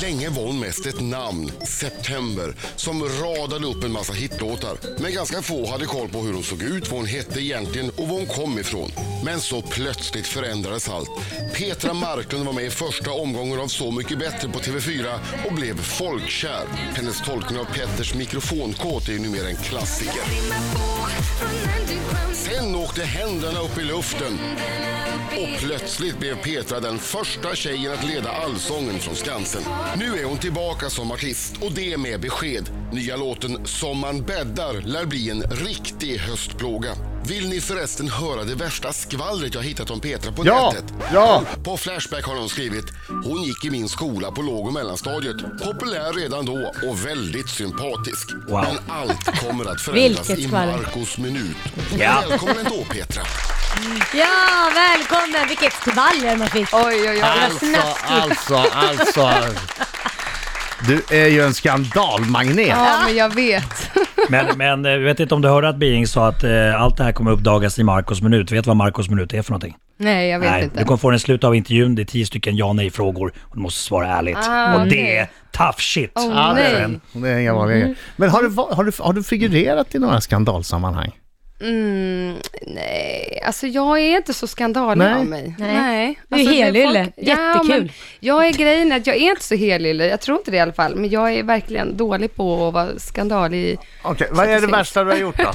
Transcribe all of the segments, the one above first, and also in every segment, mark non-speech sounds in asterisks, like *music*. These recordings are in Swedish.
Länge var hon mest ett namn, September, som radade upp en massa hitlåtar. Men ganska få hade koll på hur hon såg ut, vad hon hette egentligen och var hon kom ifrån. Men så plötsligt förändrades allt. Petra Marklund var med i första omgången av Så mycket bättre på TV4 och blev folkkär. Hennes tolkning av Petters mikrofonkåt är ju numera en klassiker. Sen åkte händerna upp i luften och plötsligt blev Petra den första tjejen att leda Allsången från Skansen. Nu är hon tillbaka som artist och det med besked. Nya låten Som man bäddar lär bli en riktig höstplåga. Vill ni förresten höra det värsta skvallret jag hittat om Petra på Ja! nätet? Ja! På Flashback har hon skrivit Hon gick i min skola på låg och mellanstadiet. Populär redan då och väldigt sympatisk. Wow. Men allt kommer *laughs* att förändras Vilket i skvaller. Marcos minut. Ja. Välkommen ändå Petra. Ja, välkommen! Vilket skvaller man fick. Oj, oj, oj. Alltså, alltså, alltså. *laughs* Du är ju en skandalmagnet. Ja, men jag vet. *laughs* Men, men eh, jag vet inte om du hörde att Biring sa att eh, allt det här kommer uppdagas i Marcos minut. Vet du vad Marcos minut är för någonting? Nej, jag vet nej, inte. du kommer få den i slutet av intervjun. Det är tio stycken ja nej frågor och du måste svara ärligt. Ah, och det okej. är tough shit. Åh, Ja, det är nej. den. Det är inga vanliga grejer. Men har du, va- har, du, har du figurerat i några skandalsammanhang? Mm, nej, alltså jag är inte så skandalig Nej. av mig. Nej. Du är Alltså, helylle. Jättekul. men jag är grejen är att jag är inte så helylle, jag tror inte det i alla fall, men jag är verkligen dålig på att vara skandalig. Okej, vad är det Statistik. värsta du har gjort då? *laughs*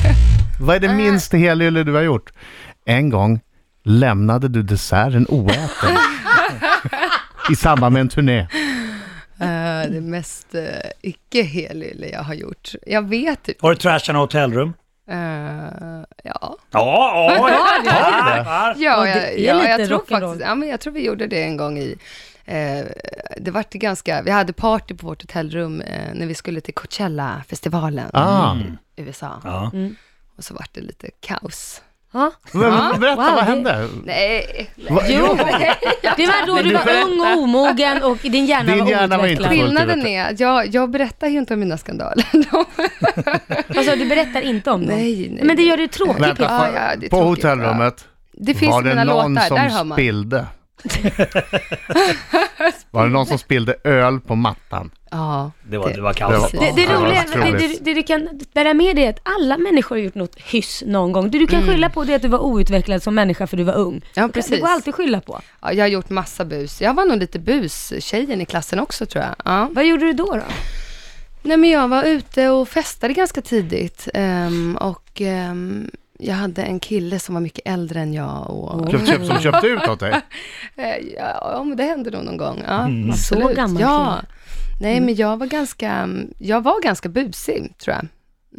vad är det minst helylle du har gjort? En gång lämnade du desserten oäten. I samband med en turné. Eh, det mest uh, icke helylle jag har gjort. Jag vet typ. Har du trashat något hotellrum? eh, ja, Ja, ja, det ja, ja. ja, det jag- är ja lite jag tror rock'n'roll. faktiskt, ja, men jag tror vi gjorde det en gång i, eh, det vart ganska, vi hade party på vårt hotellrum eh, när vi skulle till Coachella-festivalen Ah. i USA. Ja. Och så vart det lite kaos. Ja. Men, berätta, Wow, vad det- hände? Nej, Va- Jo, det var då du var ung och omogen och din hjärna Din var hjärna var inte outvecklad. full. skillnaden är att jag, jag berättar ju inte om mina skandaler. *laughs* Alltså, du berättar inte om dem. Nej, nej, Men det gör det tråkigt. Vänta, liksom. Ja, fa- ja, det är på tråkigt, hotellrummet Det finns var i mina det någon låtar, där hör som man. spillde? *laughs* var det någon som spillde öl på mattan? Ja, Det var, det var kaos. Det var- Det, det Ja, det roliga, var det, otroligt. det, det du kan bära med dig är att alla människor har gjort något hyss någon gång. Det du kan skylla på det är att du var outvecklad som människa för du var ung. Ja, Det- Det precis. går alltid att skylla på. ja, jag har gjort massa bus. Jag var nog lite bus-tjejen i klassen också tror jag. Ja. Vad gjorde du då? då? Nej, men jag var ute och festade ganska tidigt. ehm, och ehm, jag hade en kille som var mycket äldre än jag. Och, Köp, köp, som köpte ut åt *laughs* dig? Eh, Ja, men det hände nog någon gång. Ja, Mm. Så absolut. gammal Mm. ja. Nej, men jag var ganska, jag var ganska busig, tror jag.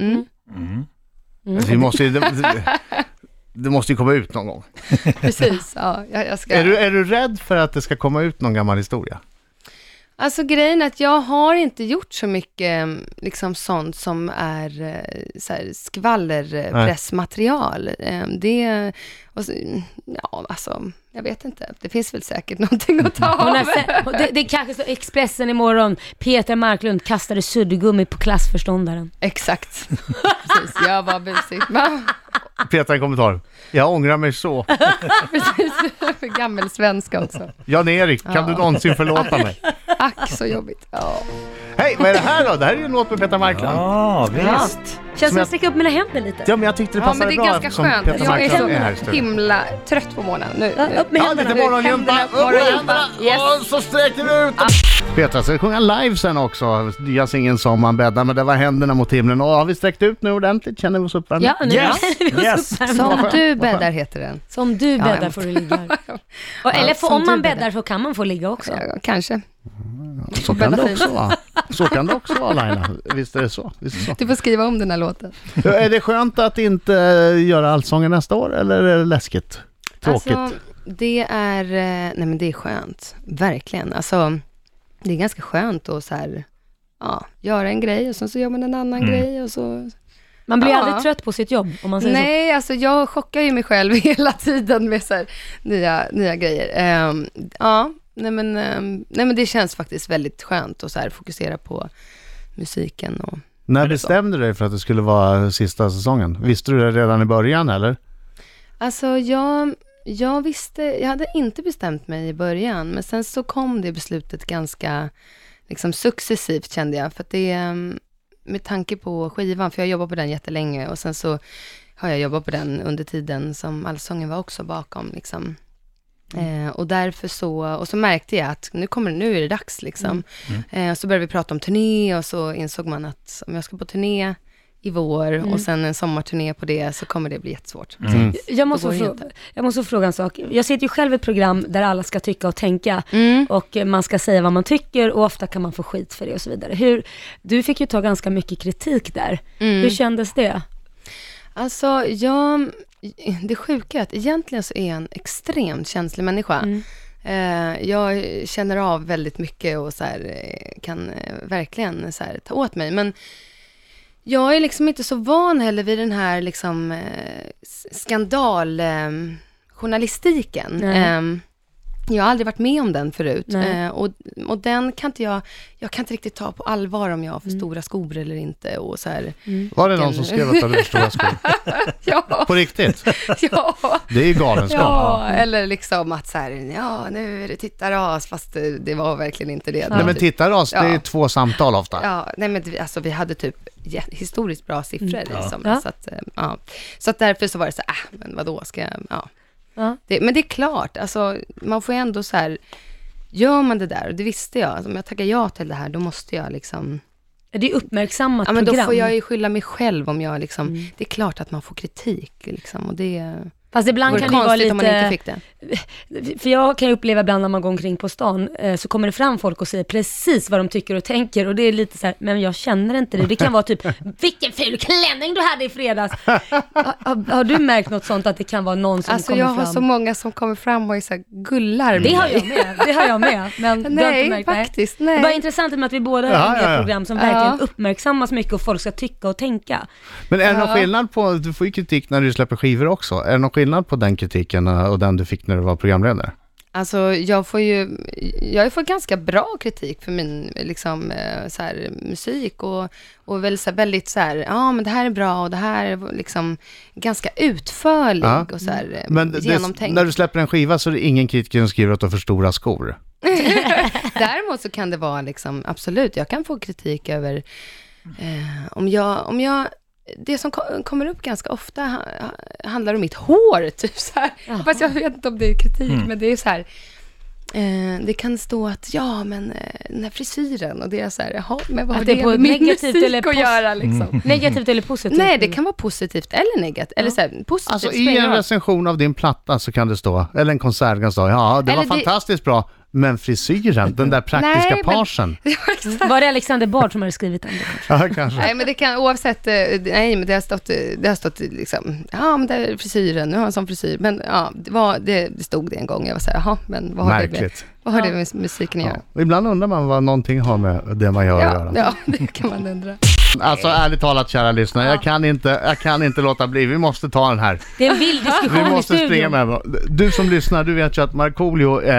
Mm. Vi måste, ju- det, det måste ju komma ut någon gång. Precis, ja, jag, jag ska... Är du, är du rädd för att det ska komma ut någon gammal historia? Alltså grejen är att jag har inte gjort så mycket eh, liksom sånt som är eh, så här, skvallerpressmaterial. Eh, Det, och så, ja alltså, jag vet inte. Det finns väl säkert *laughs* någonting att ta Hon har av. sett, och det, det kanske står Expressen imorgon. Peter Marklund kastade suddgummi på klassförståndaren. Exakt. Precis, jag var busig. *laughs* Men- Petra en kommentar. Jag ångrar mig så. Precis, för gammelsvenska också. Jan-Erik, kan du Ja. någonsin förlåta mig? Ack så jobbigt. Ja. Hej, vad är det här då? Det här är ju en låt med Petra Marklund. Ja, visst. Känns som jag- jag sträcker upp mina händer lite. Ja, men jag tyckte det ja, men passade det är bra ganska eftersom skönt. Petra Jag är Marklund är här. i så studion. himla trött på morgonen nu. Ja, upp med Ja, lite händerna. morgonjumpa, upp med händerna Yes. och så sträcker du ut. Petra ska sjunga live sen också, nya singeln som man bäddar, men det var händerna mot himlen. Och har vi sträckt ut nu ordentligt? Känner vi oss uppvärmda? Ja, nu Yes, *laughs* vi oss yes. uppvärmda. Som du bäddar heter den. Som du *laughs* Ja, bäddar jag får du ligga. här. Och, eller får, som om du man bäddar. bäddar så kan man få ligga också. Ja, kanske. Så kan det också vara. Så kan det också vara Laila. Visst är det så. Visst är, det Du får skriva om den här låten. så. är det skönt att inte göra Allsången nästa år eller är det läskigt? Tråkigt? Alltså, det är, eh, nej men det är skönt, verkligen. Alltså, det är ganska skönt att så här, ja, göra en grej och sen så gör man en annan Mm. grej och så. Man blir Ja. aldrig trött på sitt jobb om man säger så. Nej, alltså jag chockar ju mig själv *laughs* hela tiden med så här nya, nya grejer. Ehm, ja, nej men, ehm, nej men det känns faktiskt väldigt skönt att så här fokusera på musiken och När bestämde du dig för att det skulle vara sista säsongen? Visste du det redan i början eller? Alltså jag, jag visste, jag hade inte bestämt mig i början, men sen så kom det beslutet ganska, liksom successivt kände jag. För att det, ehm, med tanke på skivan, för jag jobbar på den jättelänge och sen så har jag jobbat på den under tiden som Allsången var också bakom. Liksom. Eh, och därför så, och så märkte jag att nu kommer nu är det dags liksom. Eh, så började vi prata om turné och så insåg man att om jag ska på turné i vår och sen en sommarturné på det så kommer det bli jättesvårt. Jag måste, går det fråga, inte. jag måste fråga en sak. Jag sitter ju själv i ett program där alla ska tycka och tänka och eh, man ska säga vad man tycker och ofta kan man få skit för det och så vidare. Hur, du fick ju ta ganska mycket kritik där. Mm. Hur kändes det? Alltså, jag, det sjuka är att egentligen så är jag en extremt känslig människa. Mm. Eh, jag känner av väldigt mycket och så här, eh, kan eh, verkligen så här, ta åt mig. Men jag är liksom inte så van heller vid den här liksom, eh, s- skandal... Eh, journalistiken. Nej. Ehm, jag har aldrig varit med om den förut. Nej. Eh, och, och den kan inte jag, jag kan inte riktigt ta på allvar om jag har för Mm. stora skor eller inte. Och så *laughs* här, Var det någon som skrev att du hade för stora skor? ja, På riktigt? *laughs* ja. Det är ju galenskap. Ja, Mm. eller liksom att så här, ja nu är det tittaras, fast det, det var verkligen inte det. Nej men titta Ras, det är Typ. Ja. två samtal ofta. Ja, nej men vi- alltså vi hade typ jä- historiskt bra siffror liksom. Mm. Ja. Så, att, eh, ja. så att därför så var det så här, äh, men vadå, ska jag, ja. Ja. Det, men det är klart, alltså man får ju ändå så här, gör man det där, och det visste jag, alltså, om jag tackar ja till det här, då måste jag liksom, Det är uppmärksammat ja men då program. Mm. får jag ju skylla mig själv om jag liksom, det är klart att man får kritik liksom, och det Fast ibland vore kan det ju vara konstigt om man inte lite... fick det. För jag kan ju uppleva ibland när man går omkring på stan, eh, så kommer det fram folk och säger precis vad de tycker och tänker och det är lite så här, men jag känner inte det. Det kan vara *laughs* typ, vilken ful klänning du hade i fredags. har, har, har du märkt något sånt, att det kan vara någon som Alltså kommer jag fram? har så många som kommer fram och är så här, gullar med Det har mig. jag med, det har jag med. Men du har Nej, inte märkt, faktiskt, Det är nej. bara intressant med att vi båda har Ja, ja, med ja. ett program som verkligen Ja. Mm. uppmärksammas mycket och folk ska tycka och tänka. Men är det någon skillnad på, du får ju kritik när du släpper skivor också. Är det någon skillnad på den kritiken eh, och den du fick när du var programledare? Alltså jag får ju, jag har ju fått ganska bra kritik för min liksom, eh, så här, musik och, och väl, så här, väldigt så här, ja men det här är bra och det här är liksom ganska utförlig Ja. och så här eh, Men det, genomtänkt. när du släpper en skiva så är det ingen kritiker som skriver att du har för stora skor. Däremot så kan det vara liksom, absolut, jag kan få kritik över eh, om jag, om jag det som ko- kommer upp ganska ofta ha, ha- handlar om mitt hår, *laughs* typ så här. Fast jag vet inte om det är kritik, Mm. men det är så här. Eh, det kan stå att, ja men eh, den här frisyren och det är så här, jaha, men vad Att har det det, är på med min negativt musik eller Mm. att pos- göra liksom? Negativt eller positivt? Nej, det kan vara positivt eller negativt, eller så här, positivt Alltså i spelar ingen en roll. recension av din platta så kan det stå, eller en konsert kan stå, ja det var Eller det- fantastiskt bra, men frisyren, den där praktiska Nej, men- parsen. *laughs* Ja, exakt. Var det Alexander Bard som hade skrivit den? boken? Ja, kanske. Nej, men det kan oavsett, eh, nej men det har stått, eh, det har stått liksom, ja men det är frisyren, nu har jag en sån frisyr, men ja, det, var, det, det stod det en gång, jag var så här, jaha, men vad har, det med, Märkligt. vad har det med musiken att Ja. göra? Och Ibland undrar man vad någonting har med det man gör att Ja, göra. ja, *laughs* det kan *laughs* man undra. Alltså ärligt talat kära lyssnare, jag, kan inte, jag kan inte låta bli. Vi måste ta den här. Det är en *laughs* vild Vi diskussion i måste springa studion. med den. Du som lyssnar, du vet ju att Markoolio eh,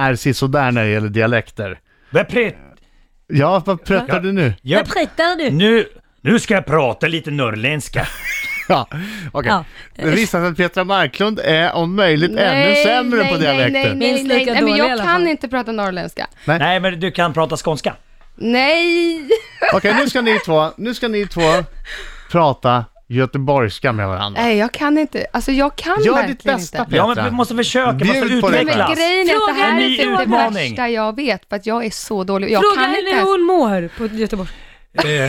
är sisådär när det gäller dialekter. Vad pre- Ja, vad pratar du nu? *laughs* jag- Vad pratar du? Nu, nu ska jag prata lite norrländska. Ja, okej. Ja. Det visar sig att Petra Marklund är om möjligt ännu sämre på dialekter. Nej, nej, nej, Minst nej, lika nej, men dålig i jag alla kan fall. inte prata norrländska. Nej, men du kan prata skånska. *laughs* Nej! Okej, nu ska ni två, nu ska ni två prata göteborgska med varandra. Nej, jag kan inte, alltså jag kan Gör ditt verkligen bästa, inte. Petra. Ja, men vi måste försöka, vi måste Bjud på dig Nej, men Petra. utvecklas. grejen är att det Fråga här är henne typ hur det hon mår. värsta jag vet, för att jag är så dålig. Jag Fråga kan inte henne hur ens- hon mår på Göteborg. Eh,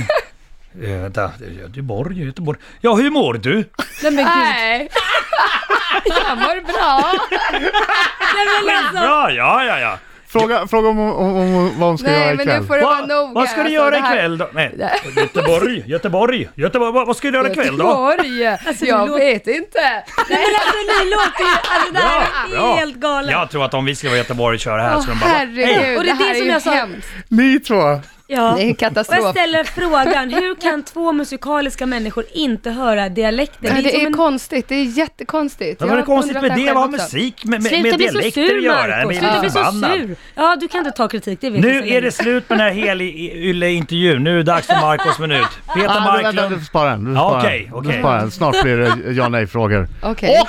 eh, vänta, Göteborg, Göteborg. Ja, hur mår du? Nej men gud. Nej, *laughs* jag mår *laughs* bra. alltså, Bra, ja, ja, ja. Fråga, fråga om, om, om vad hon ska göra Nej, men ikväll. nu får det vara Va, nog. vad ska du alltså, göra det här- ikväll då? Nej. Göteborg, Göteborg, Göteborg. Vad, vad ska du göra ikväll då? *laughs* Göteborg. det jag låter- vet inte. Nej men alltså ni låter ju, alltså det här Bra, bra. är helt galet. Jag tror att om vi skulle vara i Göteborg och köra här så de bara... "Hej." Herregud, Och det är det här som ju jag sa. hemskt. Ni två. Ja. Det är en Och jag katastrof. ställer frågan, hur kan två musikaliska människor inte höra dialekter? Det är, som det är en- konstigt, det är jättekonstigt. Vad Jag var det har konstigt undrat med här det? själv Vad har också. musik med, med, Sluta med bli så dialekter att sur göra? Jag Marco, blir sluta bli så förbannad. sur. Ja, du kan inte ta kritik, det vet jag Nu sedan är det länge. slut med den här Heli-Ylle-intervjun. Nu är det dags för Marcos minut. Peter Ah, du, vänta, du Marklund. får spara den. Du får Ja, spara den. okej, Du får okej. spara den. Snart blir det ja nej-frågor. Okej.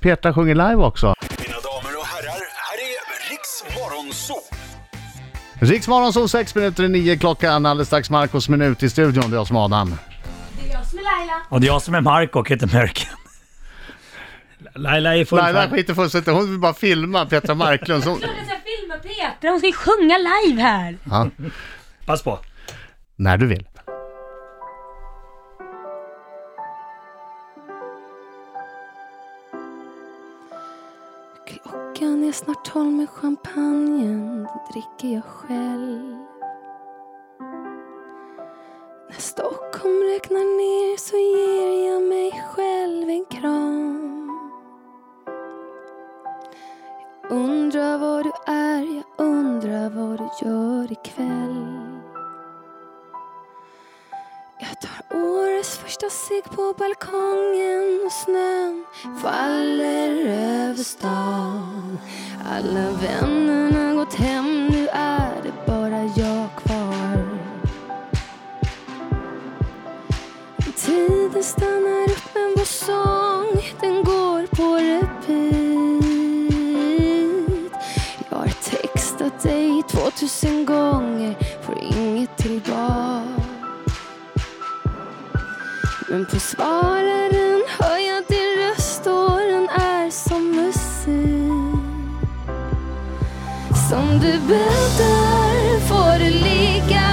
Petra sjunger live också. Mina damer och herrar, här är Riks Morgonzoo. Riksmorgon som 6 minuter i 9 klockan alldeles strax Marcos minut i studion. Det är jag som är Adam. Det är jag som är Laila. Och det är jag som är Marco och heter Mörken. Laila är full Laila fan. skiter fullständigt Hon vill bara filma Petra Marklund. Som... Jag ska filma Petra, hon ska ju sjunga live här. Ja, Pass på. *laughs* när du vill. Klockan är snart tolv med champagnen dricker jag själv. När Stockholm räknar ner så ger jag mig själv en kram. Jag undrar var du är, jag undrar vad du gör ikväll. Jag tar årets första cigg på balkongen och snön faller över stan. Alla vännerna gått hem, nu är det bara jag kvar. Tiden stannar upp men vår sång den går på repeat. Jag har textat dig 2000 gånger, får inget tillbaka. Men på svararen hör jag din röst och den är som musik. Som du bäddar får du ligga.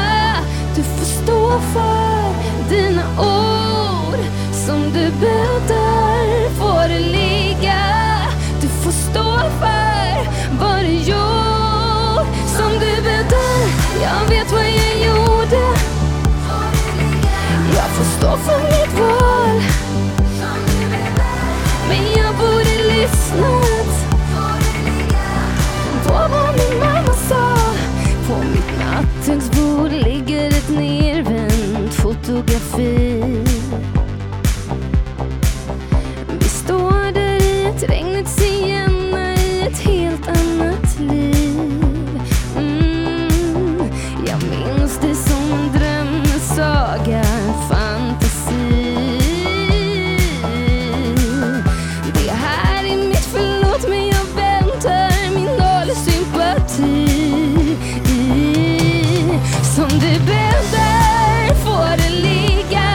Du får stå för dina ord. Som du bäddar får du ligga. Du får stå för vad du gjort. Som du bäddar, jag vet vad jag gjorde. Jag får stå för mitt val Men jag borde lyssnat På vad min mamma sa På mitt nattduksbord ligger ett nervänt fotografi Vi står där i ett regnigt Siena i ett helt annat liv mm. Jag minns det som en dröm, en saga, en fantasi Det här är mitt förlåt men jag väntar min noll sympati Som du bäddar får det ligga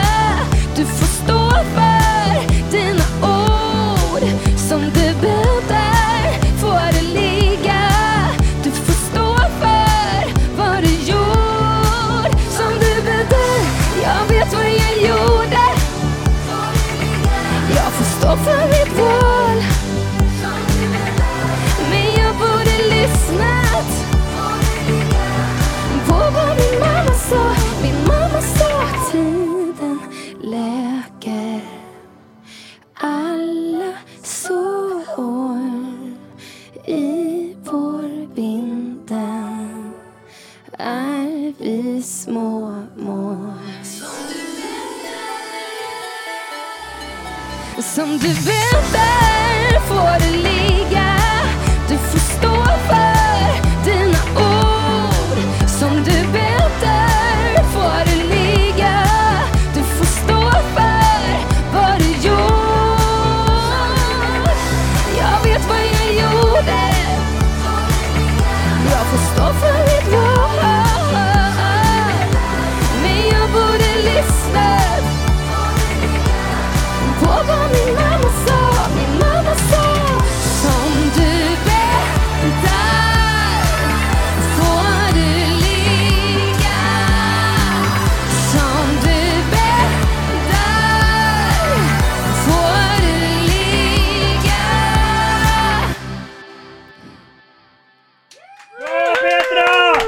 Du får stå för dina ord Som du bäddar får det ligga Du får stå för vad du gjort Som du bäddar, jag vet vad jag gjorde Jag får stå för mitt val Men jag borde lyssnat på vad min mamma sa Min mamma sa att tiden läker alla sår I vår vinden är vi små Som du väntar får du ligga Du får stå för dina ord Som du väntar får du ligga Du får stå för vad du gjort Jag vet vad jag gjorde Jag får stå för mitt val Men jag borde lyssna på vad min mamma sa, min mamma sa Som du bäddar får du ligga Som du bäddar får du ligga Bra Petra!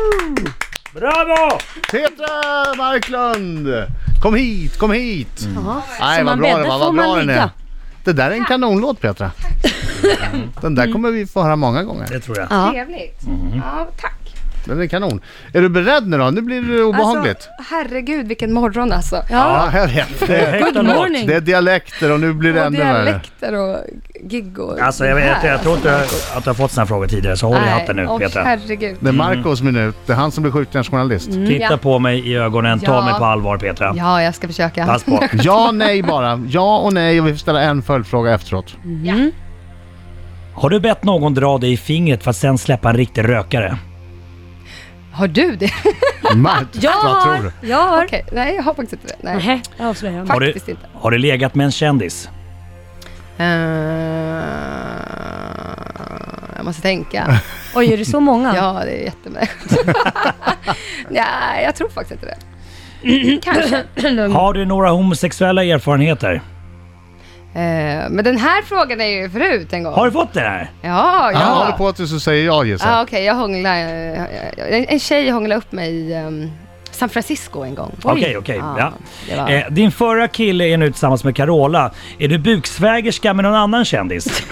Bravo! Petra Marklund! Kom hit, kom hit! Nej, Mm. vad Som man bra det bäddar var, får vad bra man den är. ligga. Det där är en kanonlåt Petra. *laughs* Den där kommer vi få höra många gånger. Det tror Ah. jag. Ja. Trevligt. Ja, tack. Den är kanon. Är du beredd nu då? Nu blir det obehagligt. Alltså, herregud vilken morgon alltså. Ja, här är det. Högt och Good lågt. morning. Det är dialekter och nu blir det Och ännu värre. dialekter och gig och... Alltså jag, jag, jag, jag tror inte att du har fått såna här frågor tidigare, så håll i hatten nu och Petra. herregud. Det är Marcos minut. Det är han som blir skjuten journalist. Mm. Titta ja. på mig i ögonen, ta Ja. mig på allvar Petra. Ja, jag ska försöka. Pass på. Ja, nej bara. Ja och nej och vi får ställa en följdfråga efteråt. Har du bett någon dra dig i fingret för att sen släppa en riktig rökare? Har du det? Mart, Jag vad har, tror du? jag har. Okej, nej jag har faktiskt inte det. Nej. Nähä, jag avslöjar. Har du, Faktiskt inte. har du legat med en kändis? Eh, jag måste tänka. Oj, är det så många? *clears throat* *laughs* Ja, det är jättemånga. *laughs* nej, jag tror faktiskt inte det. Kanske. Mm. Har du några homosexuella erfarenheter? Eh, men den här frågan är ju förut en gång. Har du fått det här? Ja, ja. Jag håller på tills du säger ja Ja, Jessica. okej. jag hånglade... En, en tjej hånglade upp mig i ehm, San Francisco en gång. Okej, okej. ja. det var- eh, din förra kille är nu tillsammans med Carola. Är du buksvägerska med någon annan kändis?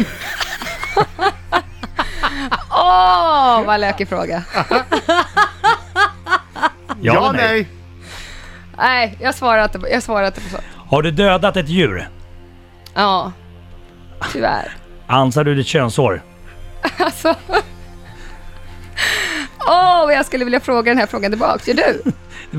Åh, vad lökig fråga. Ja, eller nej. Nej, jag svarar inte på, jag svarar inte på så. Har du dödat ett djur? Ja, tyvärr. Ansar du ditt könshår? Alltså. Åh, vad jag skulle vilja fråga den här frågan tillbaka. Gör du?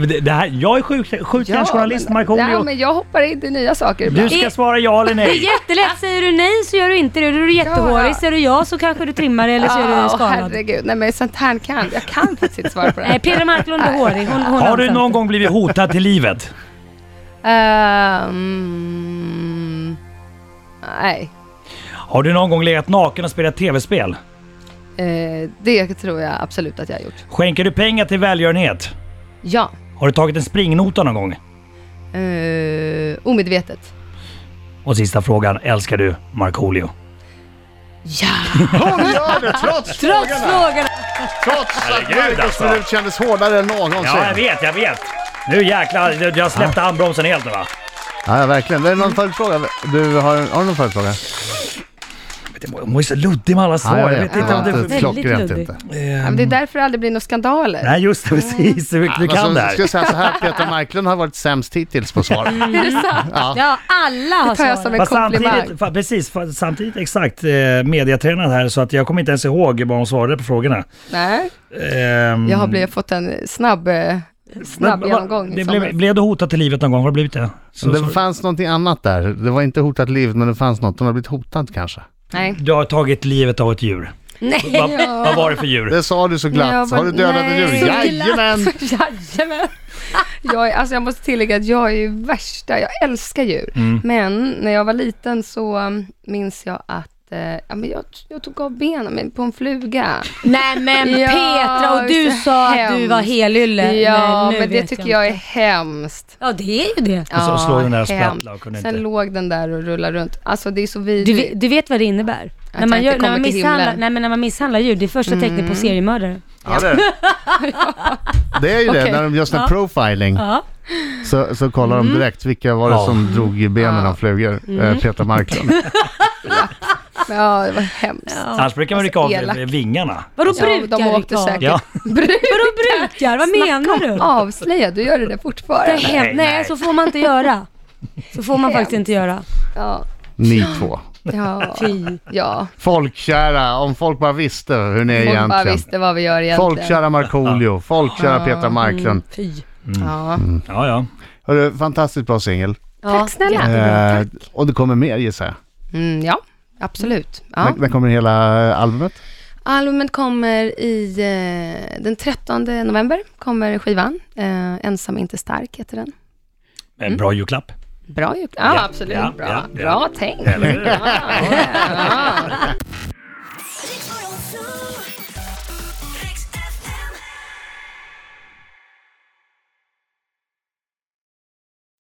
Det, det här, jag är sjuk- skjutjärnsjournalist men, ja, Markoolio. men jag hoppar in i nya saker Du ibland. ska svara ja Det eller nej. är jättelätt, säger du nej så gör du inte det. Då är du Ja. jättehårig, säger du ja så kanske du trimmar eller så är du Åh, skadad. herregud. Nej, men sånt här kan jag. kan faktiskt inte svara på det. Nej, Peder Marklund är hårig. Hon, hon Har du anser någon inte. gång blivit hotad till livet? Ehm, nej, Har du någon gång legat naken och spelat tv-spel? Eh, det tror jag absolut att jag har gjort. Skänker du pengar till välgörenhet? Ja, Har du tagit en springnota någon gång? Eh, omedvetet. Och sista frågan, älskar du Hon Markoolio? gör det trots Trots frågorna! frågorna! Trots att Herregud, Marcus alltså. minut kändes hårdare än någonsin. Ja, jag vet, jag vet. Nu jäklar, jag- jag släppte handbromsen helt nu va? Ja, ja, verkligen. Är det någon följdfråga? Du, har, har du någon följdfråga? Hon är så luddig med alla svar. Ja, jag vet inte om Ja, det... Väldigt Klockrent luddig. inte. Ja, men det är därför det aldrig blir några skandaler. Nej just det, precis. Du, du kan Alltså, ska det här. jag säga så här, Peter Marklund har varit sämst hittills på *laughs* svar. Är det sant? Mm. Ja, alla har tar jag som svarat. en Fast komplimang. samtidigt, fa, precis, fa, samtidigt exakt eh, mediatränad här så att jag kommer inte ens ihåg vad hon svarade på frågorna. Nej, Ehm, jag har blivit, fått en snabb, eh, snabb men- genomgång. Det i blev, somras. blev du hotad till livet någon gång? Har det blivit det? Så, Det så, fanns någonting annat där. Det var inte hotat liv, men det fanns något. De har blivit hotad kanske. Nej. du har tagit livet av ett djur. Nej, Vad, vad var det för djur? Det sa du så Ja, glatt. Har du men- dödat ett nej. djur? Så *laughs* glatt. *laughs* Jajamän! Jajamän! Mm. Jag, är, alltså jag måste tillägga att jag är ju värsta, jag älskar djur. Mm. Men när jag var liten så um, minns jag att eh, ja, men jag, jag tog av benen men på en fluga. nej men *laughs* Ja, Petra och det du är så sa att du hemskt. var helylle. Ja, Nej, nu men det vet tycker jag är inte. hemskt. Ja, det är ju det. Och så Ja, slog den där och hemskt. sprattla och kunde Sen inte- låg den där och rullade runt. Alltså det är så Du, vidrigt. ve- du vet vad det innebär? När man, jag gör, inte när, man kommer till misshandlar, himlen. Mm. nej, men när man misshandlar djur, det är första tecknet på seriemördare. Ja, det, är det. *laughs* det är ju det, Okej. när de gör sån här profiling Ja. så, så kollar Mm. de direkt vilka var det Ja. som drog i benen av flugor. Mm. Petra *laughs* Marklund. Ja, det var hemskt. *laughs* Annars brukar man rycka av elakt. vingarna. Vadå Ja, de brukar åkte rycka av? säkert. Ja. Vadå brukar? Vad menar du? Avslöja, du gör det där Det är fortfarande. hem- Nej, nej. nej, så får man inte göra. Så får *laughs* man faktiskt inte göra. Ja, Ni två. ja, Fy. ja. Folkkära, om folk bara visste hur ni är Hon bara egentligen. visste vad vi gör egentligen. Mm. Folkkära Markoolio, folkkära Petra Marklund. Fy. Ja. Mm. Ja, ja. Hörru, fantastiskt bra singel. Tack snälla. Eh, och det kommer mer gissar jag. Mm, ja, absolut. Ja. När, när kommer hela eh, albumet? Albumet kommer i... Eh, den 13 november kommer skivan. Eh, Ensam inte stark heter den. Mm. En bra julklapp. Bra gjort. Ja, Ja, absolut. ja, bra ja, ja. bra tänkt. Eller hur? Ja, ja.